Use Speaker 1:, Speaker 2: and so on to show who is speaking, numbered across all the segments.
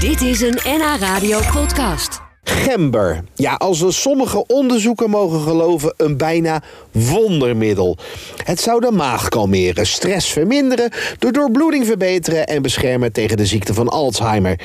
Speaker 1: Dit is een NH Radio podcast.
Speaker 2: Gember. Ja, als we sommige onderzoeken mogen geloven, een bijna wondermiddel. Het zou de maag kalmeren, stress verminderen, de doorbloeding verbeteren en beschermen tegen de ziekte van Alzheimer.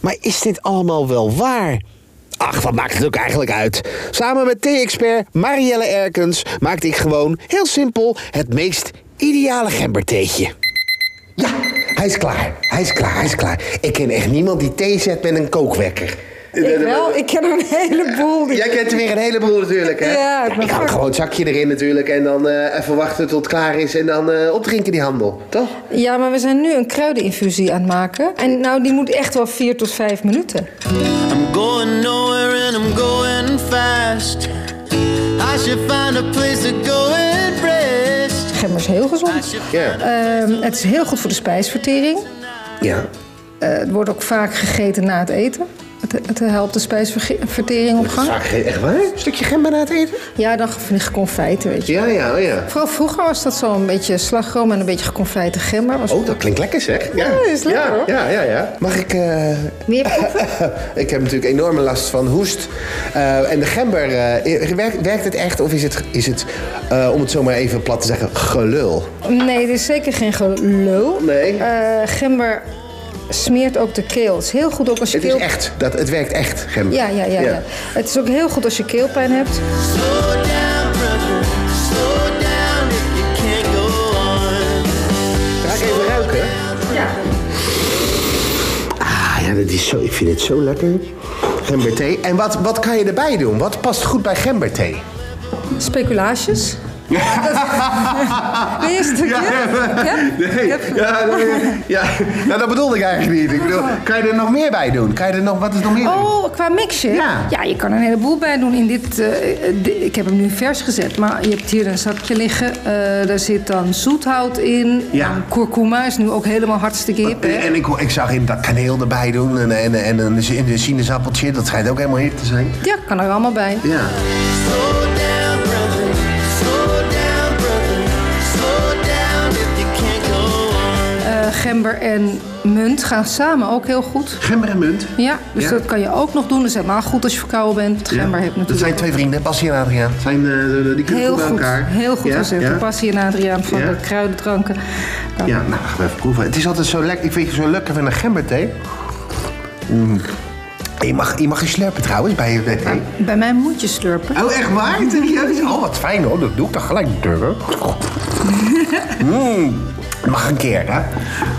Speaker 2: Maar is dit allemaal wel waar? Ach, wat maakt het ook eigenlijk uit? Samen met thee-expert Marielle Erkens maakte ik gewoon, heel simpel, het meest ideale gembertheetje. Ja, hij is klaar. Hij is klaar, hij is klaar. Ik ken echt niemand die thee zet met een kookwekker.
Speaker 3: Ik wel, ik ken een heleboel. Die...
Speaker 2: Jij kent er weer een heleboel natuurlijk, hè?
Speaker 3: Ja, ik ben
Speaker 2: ik hou
Speaker 3: gek.
Speaker 2: gewoon het zakje erin natuurlijk en dan eh, even wachten tot het klaar is en dan eh, opdrinken die handel, toch?
Speaker 3: Ja, maar we zijn nu een kruideninfusie aan het maken. En nou, die moet echt wel 4 tot 5 minuten.
Speaker 4: I'm going nowhere and I'm going fast. I should find a place to go and rest.
Speaker 3: Gember is heel gezond.
Speaker 2: Ja.
Speaker 3: Ehm, het is heel goed voor de spijsvertering.
Speaker 2: Ja.
Speaker 3: Eh, het wordt ook vaak gegeten na het eten. Het, het helpt de spijsvertering op gang.
Speaker 2: Vaak, echt waar? Een stukje gember na het eten?
Speaker 3: Ja, dan van die geconfijten, weet je.
Speaker 2: Ja, ja, oh ja.
Speaker 3: Vooral vroeger was dat zo'n beetje slagroom en een beetje geconfijte gember. Was...
Speaker 2: Oh, dat klinkt lekker zeg. Ja,
Speaker 3: dat is lekker,
Speaker 2: ja,
Speaker 3: hoor.
Speaker 2: Ja, ja, ja. Mag ik... eh,
Speaker 3: Meer proeven?
Speaker 2: ik heb natuurlijk enorme last van hoest. Eh, en de gember, eh, werkt, werkt het echt of is het, is het eh, om het zomaar even plat te zeggen, gelul?
Speaker 3: Nee, dit is zeker geen gelul.
Speaker 2: Nee.
Speaker 3: Eh, gember smeert ook de keel. Het is heel goed ook als je
Speaker 2: Het is
Speaker 3: keel...
Speaker 2: echt, dat, het werkt echt, gember.
Speaker 3: Ja, ja, ja, ja. Het is ook heel goed als je keelpijn hebt.
Speaker 4: Slow down, brother. Slow down if you can't go on.
Speaker 2: Ga ik even ruiken?
Speaker 3: Ja.
Speaker 2: Ah ja, dat is zo, ik vind het zo lekker. Gemberthee. En wat, wat kan je erbij doen? Wat past goed bij gemberthee?
Speaker 3: Speculaties. Dat... Wil je eens een stukje? Ja? Ik heb-
Speaker 2: ja, nou, dat bedoelde ik eigenlijk niet. Ik bedoel, kan je er nog meer bij doen? Kan je er nog, wat is nog meer?
Speaker 3: Oh, qua mixje?
Speaker 2: Ja.
Speaker 3: je kan er een heleboel bij doen. In dit, eh, eh, di- ik heb hem nu vers gezet, maar je hebt hier een zakje liggen. Eh, daar zit dan zoethout in.
Speaker 2: Ja.
Speaker 3: En kurkuma is nu ook helemaal hartstikke hip. hè?
Speaker 2: En ik, ik zag in dat kaneel erbij doen en, en, en een si- een sinaasappeltje. Dat schijnt ook helemaal hip te zijn.
Speaker 3: Ja, kan er allemaal bij.
Speaker 2: Ja.
Speaker 4: Slow down, brother. Slow down, brother. Slow down if you can't go on.
Speaker 3: Eh, gember en munt gaan samen ook heel goed.
Speaker 2: Gember en munt.
Speaker 3: Ja, dus
Speaker 2: Ja.
Speaker 3: dat kan je ook nog doen. Dat is helemaal goed als je verkouden bent. Want gember hebt
Speaker 2: Dat
Speaker 3: natuurlijk
Speaker 2: zijn twee vrienden, Bas en Adriaan. Zijn, eh, die kunnen
Speaker 3: heel
Speaker 2: goed bij
Speaker 3: goed,
Speaker 2: elkaar.
Speaker 3: heel goed
Speaker 2: Ja?
Speaker 3: gezegd.
Speaker 2: Ja?
Speaker 3: De passie en Adriaan van
Speaker 2: Ja.
Speaker 3: de kruidendranken. Nou,
Speaker 2: Ja, nou, gaan we even proeven. Het is altijd zo lekker. Ik vind het zo lekker van een gemberthee. Mm. Je mag, je mag je slurpen trouwens bij je thee.
Speaker 3: Bij mij moet je slurpen.
Speaker 2: Oh, echt waar? Serieus? Oh, wat fijn hoor. Dat doe ik dan gelijk natuurlijk. Mm. Mag een keer, hè?
Speaker 3: Ah,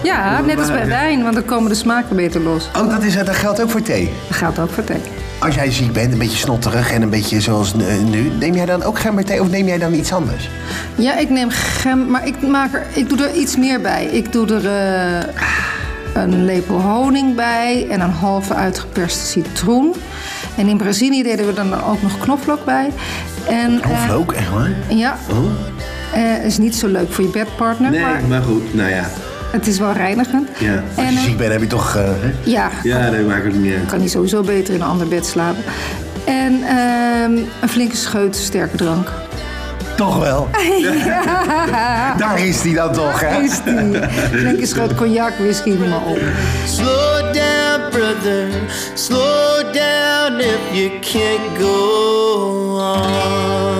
Speaker 3: Ja, net als bij wijn, want dan komen de smaken beter los.
Speaker 2: Oh, dat, is, dat geldt ook voor thee.
Speaker 3: Dat geldt ook voor thee.
Speaker 2: Als jij ziek bent, een beetje snotterig en een beetje zoals eh, nu... neem jij dan ook gemberthee of neem jij dan iets anders?
Speaker 3: Ja, ik neem gem, maar ik, maak er, ik doe er iets meer bij. Ik doe er eh, een lepel honing bij en een halve uitgeperste citroen. En in Brazilië deden we dan ook nog knoflook bij. En, eh,
Speaker 2: Knoflook, echt waar?
Speaker 3: Ja.
Speaker 2: Oh?
Speaker 3: Eh, is niet zo leuk voor je bedpartner, maar
Speaker 2: goed, nou ja.
Speaker 3: het is wel reinigend.
Speaker 2: Als
Speaker 3: En,
Speaker 2: je
Speaker 3: eh,
Speaker 2: ziek bent heb je toch... eh, hè?
Speaker 3: ja,
Speaker 2: ja, dat maakt het niet uit.
Speaker 3: kan hij sowieso beter in een ander bed slapen. En ehm, een flinke scheut sterke drank.
Speaker 2: Toch wel. Daar is die dan toch, hè?
Speaker 3: Is die. Flinke scheut cognac, whisky, noem maar op.
Speaker 4: Slow down, brother. Slow down if you can't go on.